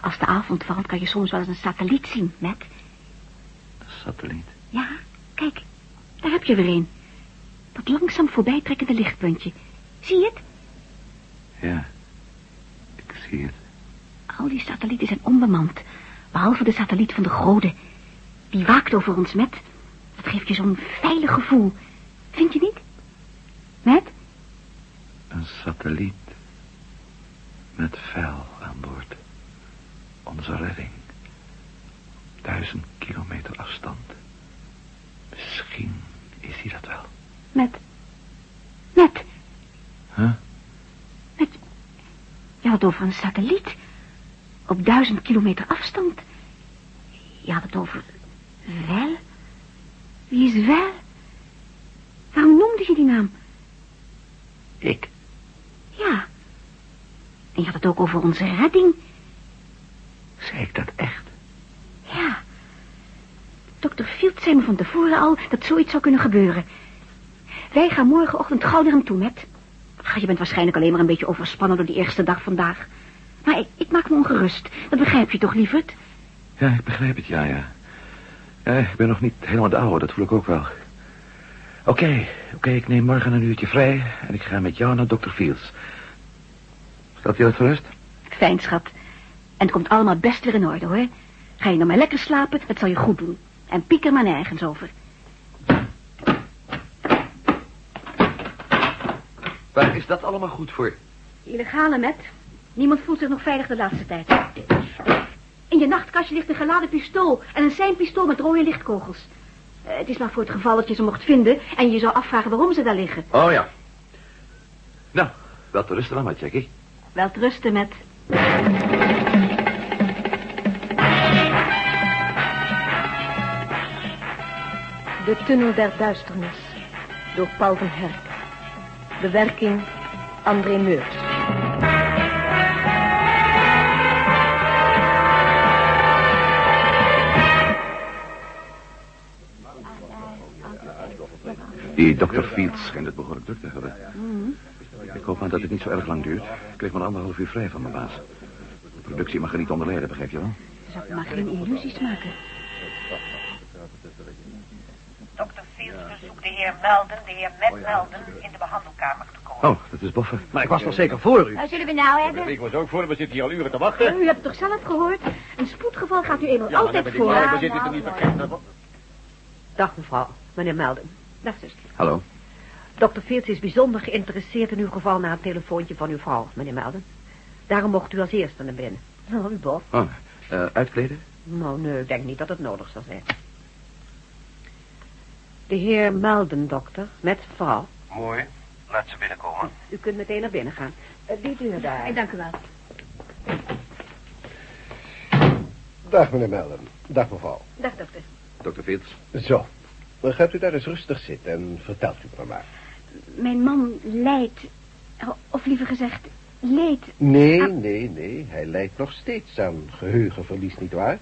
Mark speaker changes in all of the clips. Speaker 1: Als de avond valt, kan je soms wel eens een satelliet zien, Mac.
Speaker 2: Satelliet.
Speaker 1: Ja, kijk, daar heb je weer een. Dat langzaam voorbijtrekkende lichtpuntje. Zie je het?
Speaker 2: Ja. Ik zie het.
Speaker 1: Al die satellieten zijn onbemand. Behalve de satelliet van de Grode. Die waakt over ons, met. Dat geeft je zo'n veilig gevoel. Vind je niet? Met?
Speaker 2: Een satelliet. Met vuil aan boord. Onze redding. Duizend kilometer afstand. Misschien is hij dat wel.
Speaker 1: Met? Met?
Speaker 2: Huh?
Speaker 1: Met? Je had het over een satelliet. Op duizend kilometer afstand. Je had het over... Wel? Wie is wel? Waarom noemde je die naam?
Speaker 2: Ik.
Speaker 1: Ja. En je had het ook over onze redding.
Speaker 2: Zei ik dat echt?
Speaker 1: Ja. Dr. Field zei me van tevoren al dat zoiets zou kunnen gebeuren. Wij gaan morgenochtend gauw naar hem toe, Matt. Ach, je bent waarschijnlijk alleen maar een beetje overspannen door die eerste dag vandaag. Maar ik, ik maak me ongerust. Dat begrijp je toch, lieverd?
Speaker 2: Ja, ik begrijp het, ja, ja. Ja, ik ben nog niet helemaal de oude, dat voel ik ook wel. Oké, oké, ik neem morgen een uurtje vrij en ik ga met jou naar Dr. Fields. Staat je dat gerust?
Speaker 1: Fijn, schat. En het komt allemaal best weer in orde, hoor. Ga je nog maar lekker slapen, dat zal je goed doen. En piek er maar nergens over.
Speaker 2: Waar is dat allemaal goed voor?
Speaker 1: Illegale, Matt. Niemand voelt zich nog veilig de laatste tijd. In je nachtkastje ligt een geladen pistool en een seinpistool met rode lichtkogels. Eh, het is maar voor het geval dat je ze mocht vinden en je zou afvragen waarom ze daar liggen.
Speaker 2: Oh ja. Nou, wel te rusten dan maar, Jackie.
Speaker 1: Wel rusten met.
Speaker 3: De Tunnel der Duisternis door Paul van Herk. Bewerking André Meurs.
Speaker 2: Die Dr. Fields schijnt het behoorlijk druk te hebben. Ik hoop maar dat het niet zo erg lang duurt. Ik kreeg maar anderhalf uur vrij van mijn baas. De productie mag er niet onder lijden, begrijp je wel?
Speaker 1: Zou ik maar geen illusies maken.
Speaker 4: Dr. Fields verzoekt de heer Melden, de heer Matt Melden, in de behandelkamer te komen.
Speaker 2: Oh, dat is boffen. Maar ik was nog zeker...
Speaker 3: Wat zullen we nou hebben?
Speaker 5: Ik was ook voor, we zitten hier al uren te wachten.
Speaker 1: U hebt toch zelf gehoord? Een spoedgeval gaat u eenmaal
Speaker 5: Ja, maar dan
Speaker 1: altijd
Speaker 5: ben ik
Speaker 1: voor.
Speaker 5: blij, we zitten er niet vergeten.
Speaker 3: Dag mevrouw, meneer Melden. Dag zuster.
Speaker 2: Hallo.
Speaker 3: Dr. Fields is bijzonder geïnteresseerd in uw geval na het telefoontje van uw vrouw, meneer Melden. Daarom mocht u als eerste naar binnen. Oh, bof.
Speaker 2: Oh, eh, uitkleden?
Speaker 3: Nou, nee, ik denk niet dat het nodig zal zijn. De heer Melden, dokter, met vrouw.
Speaker 5: Mooi, laat ze binnenkomen.
Speaker 3: U kunt meteen naar binnen gaan. Eh, Die deur daar.
Speaker 1: Dank u wel.
Speaker 6: Dag, meneer Melden. Dag, mevrouw.
Speaker 1: Dag, dokter.
Speaker 2: Dr. Fields.
Speaker 6: Zo. Dan gaat u daar eens rustig zitten en vertelt u het me maar.
Speaker 1: Mijn man lijdt. Of liever gezegd, leed.
Speaker 6: Nee,
Speaker 1: Ah.
Speaker 6: nee, nee. Hij lijdt nog steeds aan geheugenverlies, nietwaar?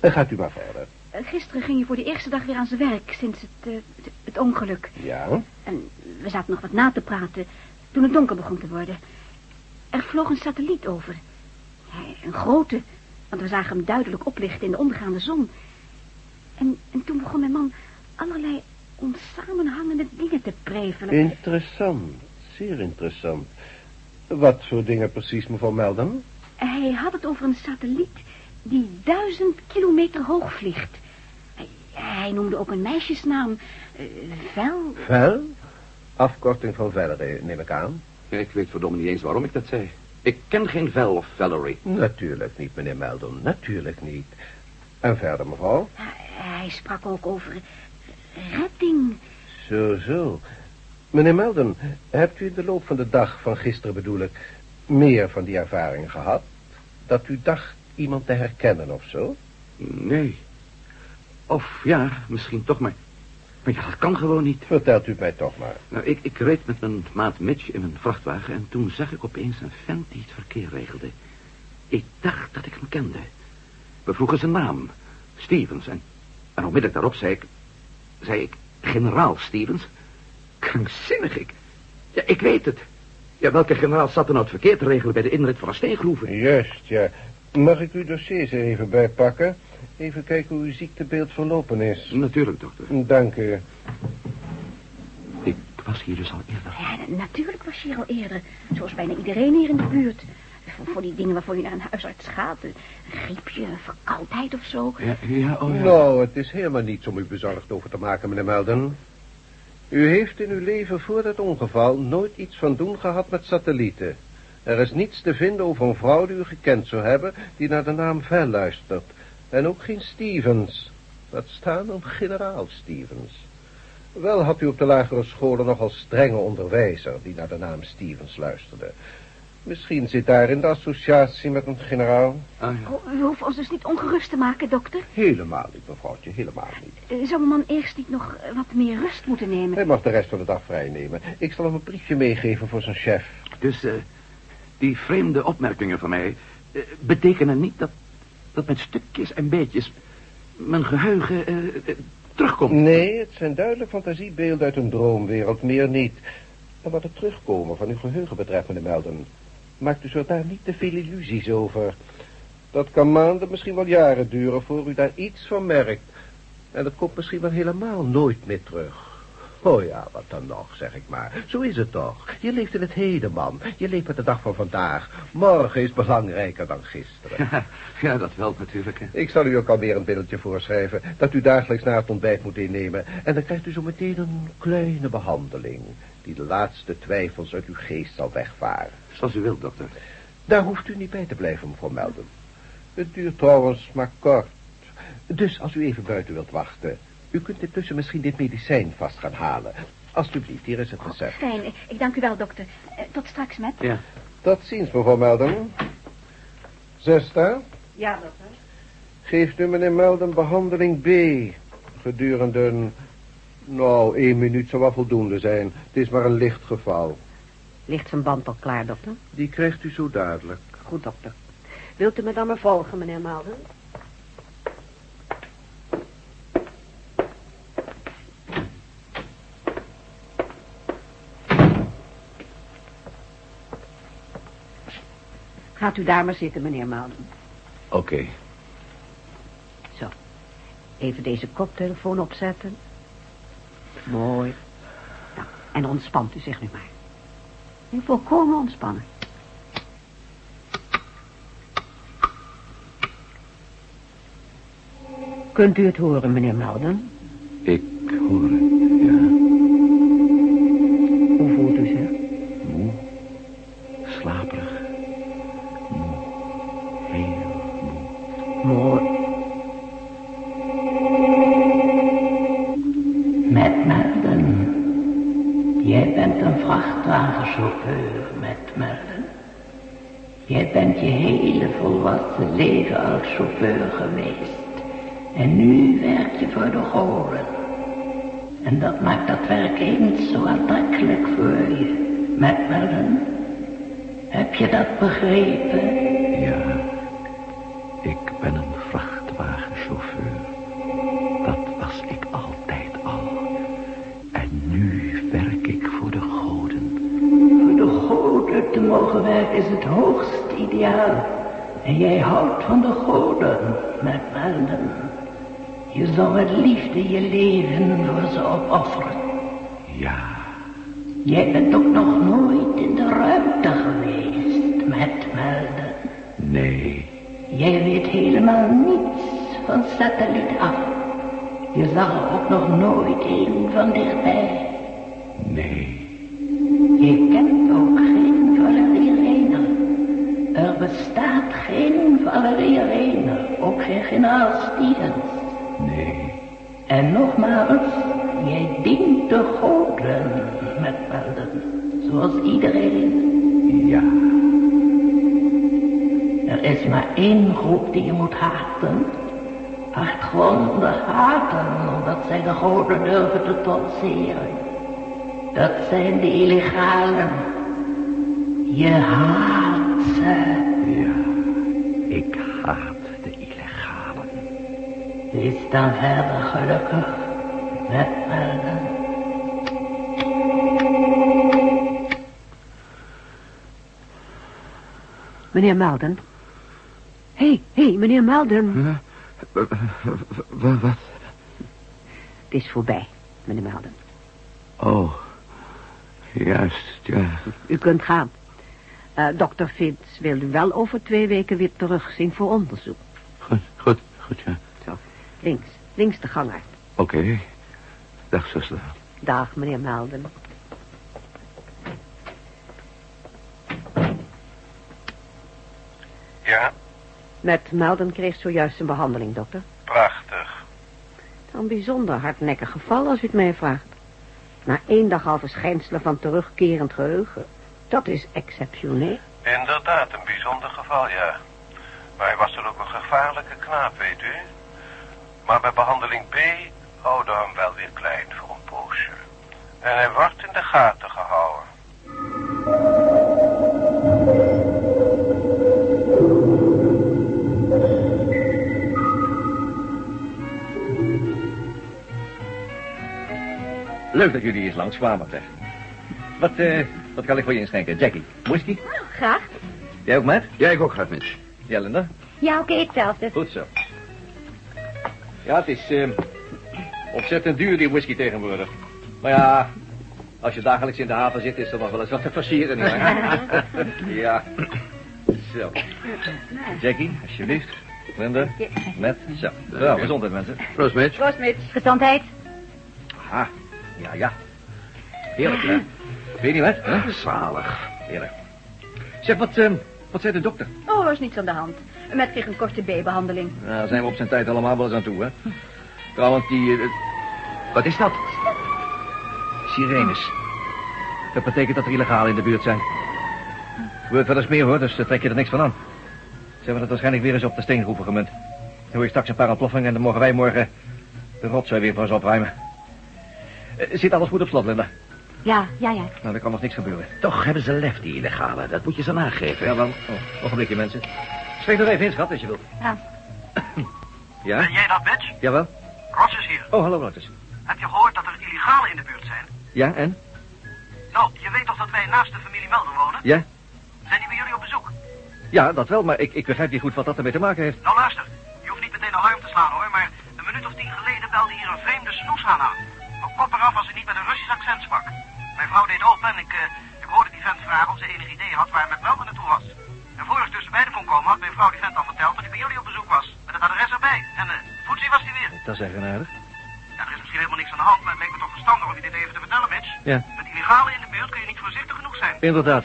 Speaker 6: Dan gaat u maar verder.
Speaker 1: Eh, Gisteren ging je voor de eerste dag weer aan zijn werk sinds het, eh, het, het ongeluk.
Speaker 6: Ja?
Speaker 1: En we zaten nog wat na te praten toen het donker begon te worden. Er vloog een satelliet over. Hij- Een grote, want we zagen hem duidelijk oplichten in de ondergaande zon. En, en toen begon mijn man allerlei onsamenhangende dingen te prevelen.
Speaker 6: Interessant. Zeer interessant. Wat voor dingen precies, mevrouw Melden?
Speaker 1: Hij had het over een satelliet die duizend kilometer hoog vliegt. Hij, hij noemde ook een meisjesnaam. eh, Vel.
Speaker 6: Vel? Afkorting van Valerie, neem ik aan.
Speaker 2: Ja, ik weet verdomme niet eens waarom ik dat zei. Ik ken geen Val of Valerie.
Speaker 6: Natuurlijk niet, meneer Melden. Natuurlijk niet. En verder, mevrouw?
Speaker 1: Hij sprak ook over redding.
Speaker 6: Zo, zo. Meneer Melden, hebt u in de loop van de dag van gisteren bedoel ik meer van die ervaring gehad? Dat u dacht iemand te herkennen of zo?
Speaker 2: Nee. Of ja, misschien toch, maar... Maar ja, dat kan gewoon niet.
Speaker 6: Vertelt u het mij toch maar.
Speaker 2: Nou, ik, ik reed met mijn maat Mitch in mijn vrachtwagen... en toen zag ik opeens een vent die het verkeer regelde. Ik dacht dat ik hem kende. We vroegen zijn naam. Stevens. En, en onmiddellijk daarop zei ik... zei ik, generaal Stevens? Krankzinnig, ik... Ja, ik weet het. Ja, welke generaal zat er nou het verkeerd te regelen bij de inrit van een steengroeven?
Speaker 6: Juist, ja. Mag ik uw dossiers er even bij pakken? Even kijken hoe uw ziektebeeld verlopen is.
Speaker 2: Natuurlijk, dokter.
Speaker 6: Dank u.
Speaker 2: Ik was hier dus al eerder.
Speaker 1: Ja, na- natuurlijk was je hier al eerder. Zoals bijna iedereen hier in de buurt. Voor, voor die dingen waarvoor je naar een huisarts gaat. Een griepje, een verkoudheid of zo.
Speaker 2: Ja, ja, oh ja.
Speaker 6: Nou, het is helemaal niets om u bezorgd over te maken, meneer Melden. U heeft in uw leven voor dat ongeval nooit iets van doen gehad met satellieten. Er is niets te vinden over een vrouw die u gekend zou hebben... die naar de naam Vel luistert. En ook geen Stevens. Dat staan om generaal Stevens. Wel had u op de lagere scholen nogal strenge onderwijzer... die naar de naam Stevens luisterde. Misschien zit daarin de associatie met een generaal.
Speaker 2: Ah, ja.
Speaker 1: Oh, u hoeft ons dus niet ongerust te maken, dokter.
Speaker 6: Helemaal niet, mevrouwtje, helemaal niet.
Speaker 1: Eh, Zou een man eerst niet nog eh, wat meer rust moeten nemen?
Speaker 6: Hij mag de rest van de dag vrij nemen. Ik zal hem een briefje meegeven voor zijn chef.
Speaker 2: Dus eh, die vreemde opmerkingen van mij eh, betekenen niet dat, dat mijn stukjes en beetjes, mijn geheugen eh, eh, terugkomt.
Speaker 6: Nee, het zijn duidelijk fantasiebeelden uit een droomwereld, meer niet. En wat het terugkomen van uw geheugen betreft, meneer Melden... maakt u zich daar niet te veel illusies over. Dat kan maanden, misschien wel jaren duren... voor u daar iets van merkt. En dat komt misschien wel helemaal nooit meer terug. Oh ja, wat dan nog, zeg ik maar. Zo is het toch. Je leeft in het heden, man. Je leeft met de dag van vandaag. Morgen is belangrijker dan gisteren.
Speaker 2: ja, dat wel natuurlijk. Hè.
Speaker 6: Ik zal u ook alweer een pilletje voorschrijven dat u dagelijks na het ontbijt moet innemen. En dan krijgt u zo meteen een kleine behandeling die de laatste twijfels uit uw geest zal wegvaren.
Speaker 2: Zoals u wilt, dokter.
Speaker 6: Daar hoeft u niet bij te blijven, mevrouw Melden. Het duurt trouwens maar kort. Dus als u even buiten wilt wachten, u kunt intussen misschien dit medicijn vast gaan halen. Alsjeblieft, hier is het recept.
Speaker 1: Fijn, ik- ik dank u wel, dokter. Eh, Tot straks, met.
Speaker 2: Ja.
Speaker 6: Tot ziens, mevrouw Melden. Zuster?
Speaker 3: Ja, dokter.
Speaker 6: Geeft u meneer Melden behandeling B. Gedurende een... Nou, één minuut zou wel voldoende zijn. Het is maar een licht geval.
Speaker 3: Ligt zijn band al klaar, dokter?
Speaker 6: Die krijgt u zo dadelijk.
Speaker 3: Goed, dokter. Wilt u me dan maar volgen, meneer Malden? Gaat u daar maar zitten, meneer Malden.
Speaker 2: Oké.
Speaker 3: Even deze koptelefoon opzetten. Mooi. Nou, en ontspant u zich nu maar. Nu volkomen ontspannen. Kunt u het horen, meneer Melden?
Speaker 2: Ik hoor het, ja.
Speaker 3: Hoe voelt u zich?
Speaker 2: Moe, slaperig, moe, heel moe.
Speaker 3: Mooi.
Speaker 7: Met Melden. Jij bent een vrachtwagenchauffeur, met Melden. Jij bent je hele volwassen leven als chauffeur geweest. En nu werk je voor de horen. En dat maakt dat werk eens zo aantrekkelijk voor je, met Melden. Heb je dat begrepen?
Speaker 2: Ja, ik ben een vrachtwagenchauffeur. Dat was ik altijd al. En nu werk ik voor de goden.
Speaker 7: Voor de goden te mogen werken is het hoogst ideaal. En jij houdt van de goden, met melden. Je zou met liefde je leven voor ze opofferen.
Speaker 2: Ja,
Speaker 7: Jij bent ook nog nooit in de ruimte geweest, met melden.
Speaker 2: nee,
Speaker 7: Jij weet helemaal niets van satelliet af. Je zag er ook nog nooit een van dichtbij.
Speaker 2: nee.
Speaker 7: Je kent ook geen Valerianer. Er bestaat geen Valerianer, ook geen generaal Stevens.
Speaker 2: Nee,
Speaker 7: En nogmaals, jij dient de goden met melden, zoals iedereen.
Speaker 2: ja,
Speaker 7: Er is maar één groep die je moet haten. Hartgrondig haten, omdat zij de goden durven te trotseren. Dat zijn de illegalen. Je haat ze.
Speaker 2: ja. Ik haat de illegalen.
Speaker 7: Is dan verder gelukkig met melden.
Speaker 3: Meneer Melden. Hé, hey, hé, hey, meneer Melden.
Speaker 2: Wat? wat?
Speaker 3: Het is voorbij, meneer Melden.
Speaker 2: Oh, juist, ja.
Speaker 3: U kunt gaan. Eh, dokter Vins wil u wel over twee weken weer terugzien voor onderzoek.
Speaker 2: Goed, goed, goed, ja.
Speaker 3: Links, links de gang uit.
Speaker 2: Oké. Dag, zuster.
Speaker 3: Dag, meneer Melden.
Speaker 5: Ja,
Speaker 3: Met Melden kreeg zojuist een behandeling, dokter.
Speaker 5: prachtig.
Speaker 3: Een bijzonder hardnekkig geval, als u het mij vraagt. Na één dag al verschijnselen van terugkerend geheugen. Dat is exceptioneel.
Speaker 5: Inderdaad, een bijzonder geval, ja. Maar hij was er ook een gevaarlijke knaap, weet u. Maar bij behandeling B houden we hem wel weer klein voor een poosje. En hij wordt in de gaten gehouden.
Speaker 8: Leuk dat jullie eens langskwamen, zeg. Wat, eh, wat kan ik voor je inschenken? Jackie, whisky?
Speaker 1: Graag.
Speaker 8: Jij ook, Matt?
Speaker 2: Ja, ik ook graag, Mitch.
Speaker 8: Jellender?
Speaker 1: Ja, oké, hetzelfde.
Speaker 8: Goed zo. Ja, het is eh, ontzettend duur, die whisky tegenwoordig. Maar ja, als je dagelijks in de haven zit, is er nog wel eens wat te versieren, nietwaar? ja. Zo. Jackie, alsjeblieft. Linda, Matt, zo. Wel, gezondheid, mensen.
Speaker 2: Proost, Mitch.
Speaker 1: Proost, Mits. Gezondheid.
Speaker 8: Ah, ja, ja. Heerlijk, hè? Vind je niet, Matt? Huh?
Speaker 2: Zalig.
Speaker 8: Heerlijk. Zeg, wat, eh, wat zei de dokter?
Speaker 1: Oh, er is niets aan de hand. Met kreeg een korte B-behandeling.
Speaker 8: Nou, daar zijn we op zijn tijd allemaal wel eens aan toe, hè? Trouwens, die... eh, wat is dat? Sirenes. Dat betekent dat er illegalen in de buurt zijn. Gebeurt wel eens meer, hoor, dus eh, trek je er niks van aan. Ze hebben het waarschijnlijk weer eens op de steengroeven gemunt. Dan hoor je straks een paar ontploffingen en dan mogen wij morgen de rotzooi weer voor ons opruimen. Eh, zit alles goed op slot, Linda?
Speaker 1: Ja, ja, ja.
Speaker 8: Nou, er kan nog niks gebeuren.
Speaker 2: Toch hebben ze lef, die illegale. Dat moet je ze nageven.
Speaker 8: Ja, wel. Oh, ogenblikje, mensen. Steek nog even in, schat, als je wilt.
Speaker 1: Ja.
Speaker 8: ja?
Speaker 9: jij dat, Mitch?
Speaker 8: Jawel.
Speaker 9: Ross is hier.
Speaker 8: Oh, hallo, Lotus.
Speaker 9: Heb je gehoord dat er illegalen in de buurt zijn?
Speaker 8: Ja, en?
Speaker 9: Nou, je weet toch dat wij naast de familie Melden wonen?
Speaker 8: Ja?
Speaker 9: Zijn die bij jullie op bezoek?
Speaker 8: Ja, dat wel, maar ik, ik begrijp niet goed wat dat ermee te maken heeft.
Speaker 9: Nou, luister. Je hoeft niet meteen alarm te slaan, hoor. Maar een minuut of tien geleden belde hier een vreemde snoeshaan aan. Mijn kop eraf als hij niet met een Russisch accent sprak. Mijn vrouw deed open en ik, eh, ik hoorde die vent vragen of ze enig idee had waar met Melden naartoe was. En voor ik tussen beiden kon komen, had mijn vrouw die vent al verteld dat hij bij jullie op bezoek was. Met het adres erbij. En eh, voetzie was hij weer.
Speaker 8: Dat is eigenaardig.
Speaker 9: Ja, er is misschien helemaal niks aan de hand, maar het leek me toch verstandig om je dit even te vertellen, Mitch.
Speaker 8: Ja.
Speaker 9: Met illegalen in de buurt kun je niet voorzichtig genoeg zijn.
Speaker 8: Inderdaad.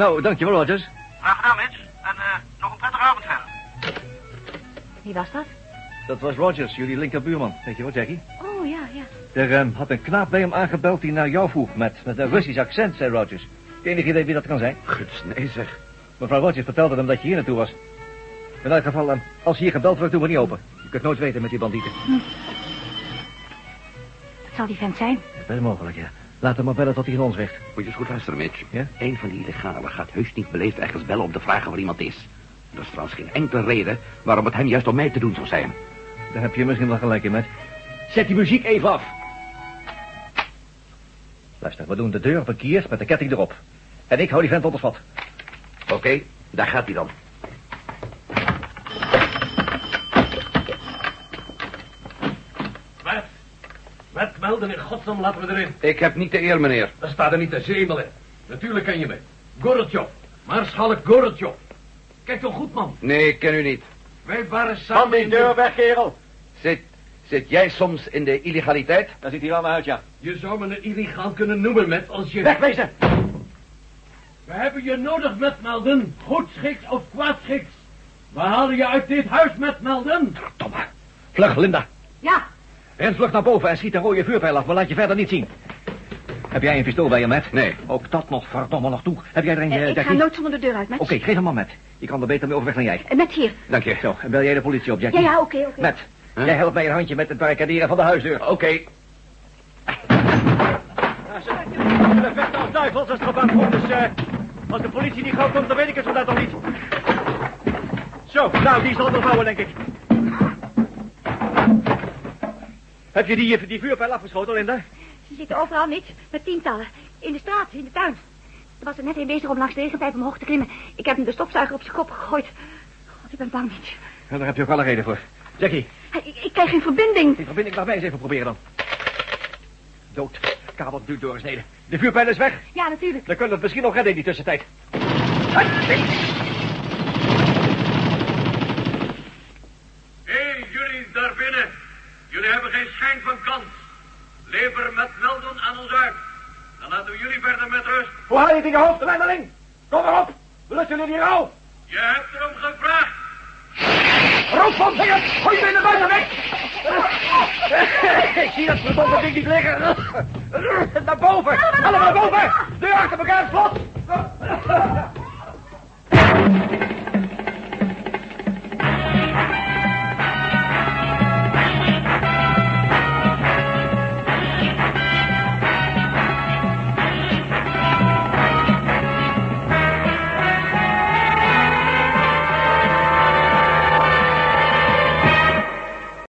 Speaker 8: Nou, dankjewel, Rogers.
Speaker 9: Graag gedaan, Mitch. En eh, nog een prettige avond verder.
Speaker 1: Wie was dat?
Speaker 8: Dat was Rogers, jullie linkerbuurman. Weet je wel, Jackie?
Speaker 1: Oh, ja, ja.
Speaker 8: Er ehm, had een knaap bij hem aangebeld die naar jou vroeg met, met een Russisch accent, zei Rogers. Het enige idee wie dat kan zijn.
Speaker 2: Guts, nee zeg.
Speaker 8: Mevrouw Rogers vertelde hem dat je hier naartoe was. In elk geval, ehm, als hier gebeld wordt, doen we niet open. Je kunt nooit weten met die bandieten.
Speaker 1: Dat zal die vent zijn.
Speaker 8: Best mogelijk, ja. Laat hem maar bellen tot hij in ons weegt.
Speaker 2: Moet je eens goed luisteren, Mitch.
Speaker 8: Ja?
Speaker 2: Eén van die illegalen gaat heus niet beleefd ergens bellen om te vragen waar iemand is. Er is trouwens geen enkele reden waarom het hem juist om mij te doen zou zijn.
Speaker 8: Daar heb je misschien wel gelijk in, met. Zet die muziek even af. Luister, we doen de deur verkeerd met de ketting erop. En ik hou die vent onder vat.
Speaker 2: Oké, daar gaat hij dan.
Speaker 10: Wat? Wat melden in godsnaam laten we erin?
Speaker 2: Ik heb niet de eer, meneer.
Speaker 10: Dat staat er niet te zemelen. Natuurlijk ken je me. Gorotjov. Maarschalk Gorotjov. Kijk toch goed, man.
Speaker 2: Nee, ik ken u niet.
Speaker 10: Wij waren samen...
Speaker 5: Van die deur weg, kerel.
Speaker 2: Zit, zit jij soms in de illegaliteit?
Speaker 8: Daar ziet hij wel maar uit, ja.
Speaker 10: Je zou me een illegaal kunnen noemen, met als je...
Speaker 8: Wegwezen!
Speaker 10: We hebben je nodig, met melden. Goed schiks of kwaad schiks. We halen je uit dit huis, met melden.
Speaker 8: Verdomme. Vlug, Linda.
Speaker 1: Ja,
Speaker 8: Ren vlug naar boven en schiet een rode vuurpijl af, maar laat je verder niet zien. Heb jij een pistool bij je, Matt?
Speaker 2: Nee.
Speaker 8: Ook dat nog, verdomme, nog toe. Heb jij er een,
Speaker 1: eh,
Speaker 8: eh,
Speaker 1: ik ga
Speaker 8: Jackie?
Speaker 1: nooit zonder de deur uit, Mets.
Speaker 8: Oké, geef hem maar, Matt. Ik kan er beter mee overweg dan jij.
Speaker 1: Eh, Met hier.
Speaker 2: Dank je.
Speaker 8: Zo, en bel jij de politie op,
Speaker 1: Ja,
Speaker 8: Jackie?
Speaker 1: ja, oké, oké.
Speaker 8: Matt,
Speaker 2: Huh?
Speaker 8: jij helpt mij een handje met het barricaderen van de huisdeur.
Speaker 2: Oké.
Speaker 8: We vechten als duivels als het gebank komt, dus als de politie niet gauw komt, dan weet ik het vandaag nog niet. Zo, nou, die zal het wel houden, denk ik. Heb je die, die vuurpijl afgeschoten, Linda?
Speaker 1: Ze zitten overal, Mits. Met tientallen. In de straat, in de tuin. was er net heen bezig om langs de regenpijp omhoog te klimmen. Ik heb hem de stofzuiger op zijn kop gegooid. God, ik ben bang, niet.
Speaker 8: Ja, daar heb je ook alle reden voor. Jackie,
Speaker 1: Ik, ik krijg geen verbinding.
Speaker 8: die verbinding mag mij eens even proberen dan. Dood. Kabel duurt doorgesneden. De vuurpijl is weg.
Speaker 1: Ja, natuurlijk.
Speaker 8: Dan kunnen we het misschien nog redden in die tussentijd.
Speaker 10: Hé, jullie daar binnen. Jullie hebben geen schijn van kans. Lever met melden aan ons uit. Dan laten we jullie verder met rust.
Speaker 8: Hoe haal je het in je hoofd, de wendeling? Kom erop. We lusten jullie hier al.
Speaker 10: Je hebt erom gevraagd.
Speaker 8: Rood van vingers. Gooi je in de buiten weg. Ik zie dat verdomme ding niet liggen. Naar boven. Allemaal naar boven. Deur achter elkaar, slot.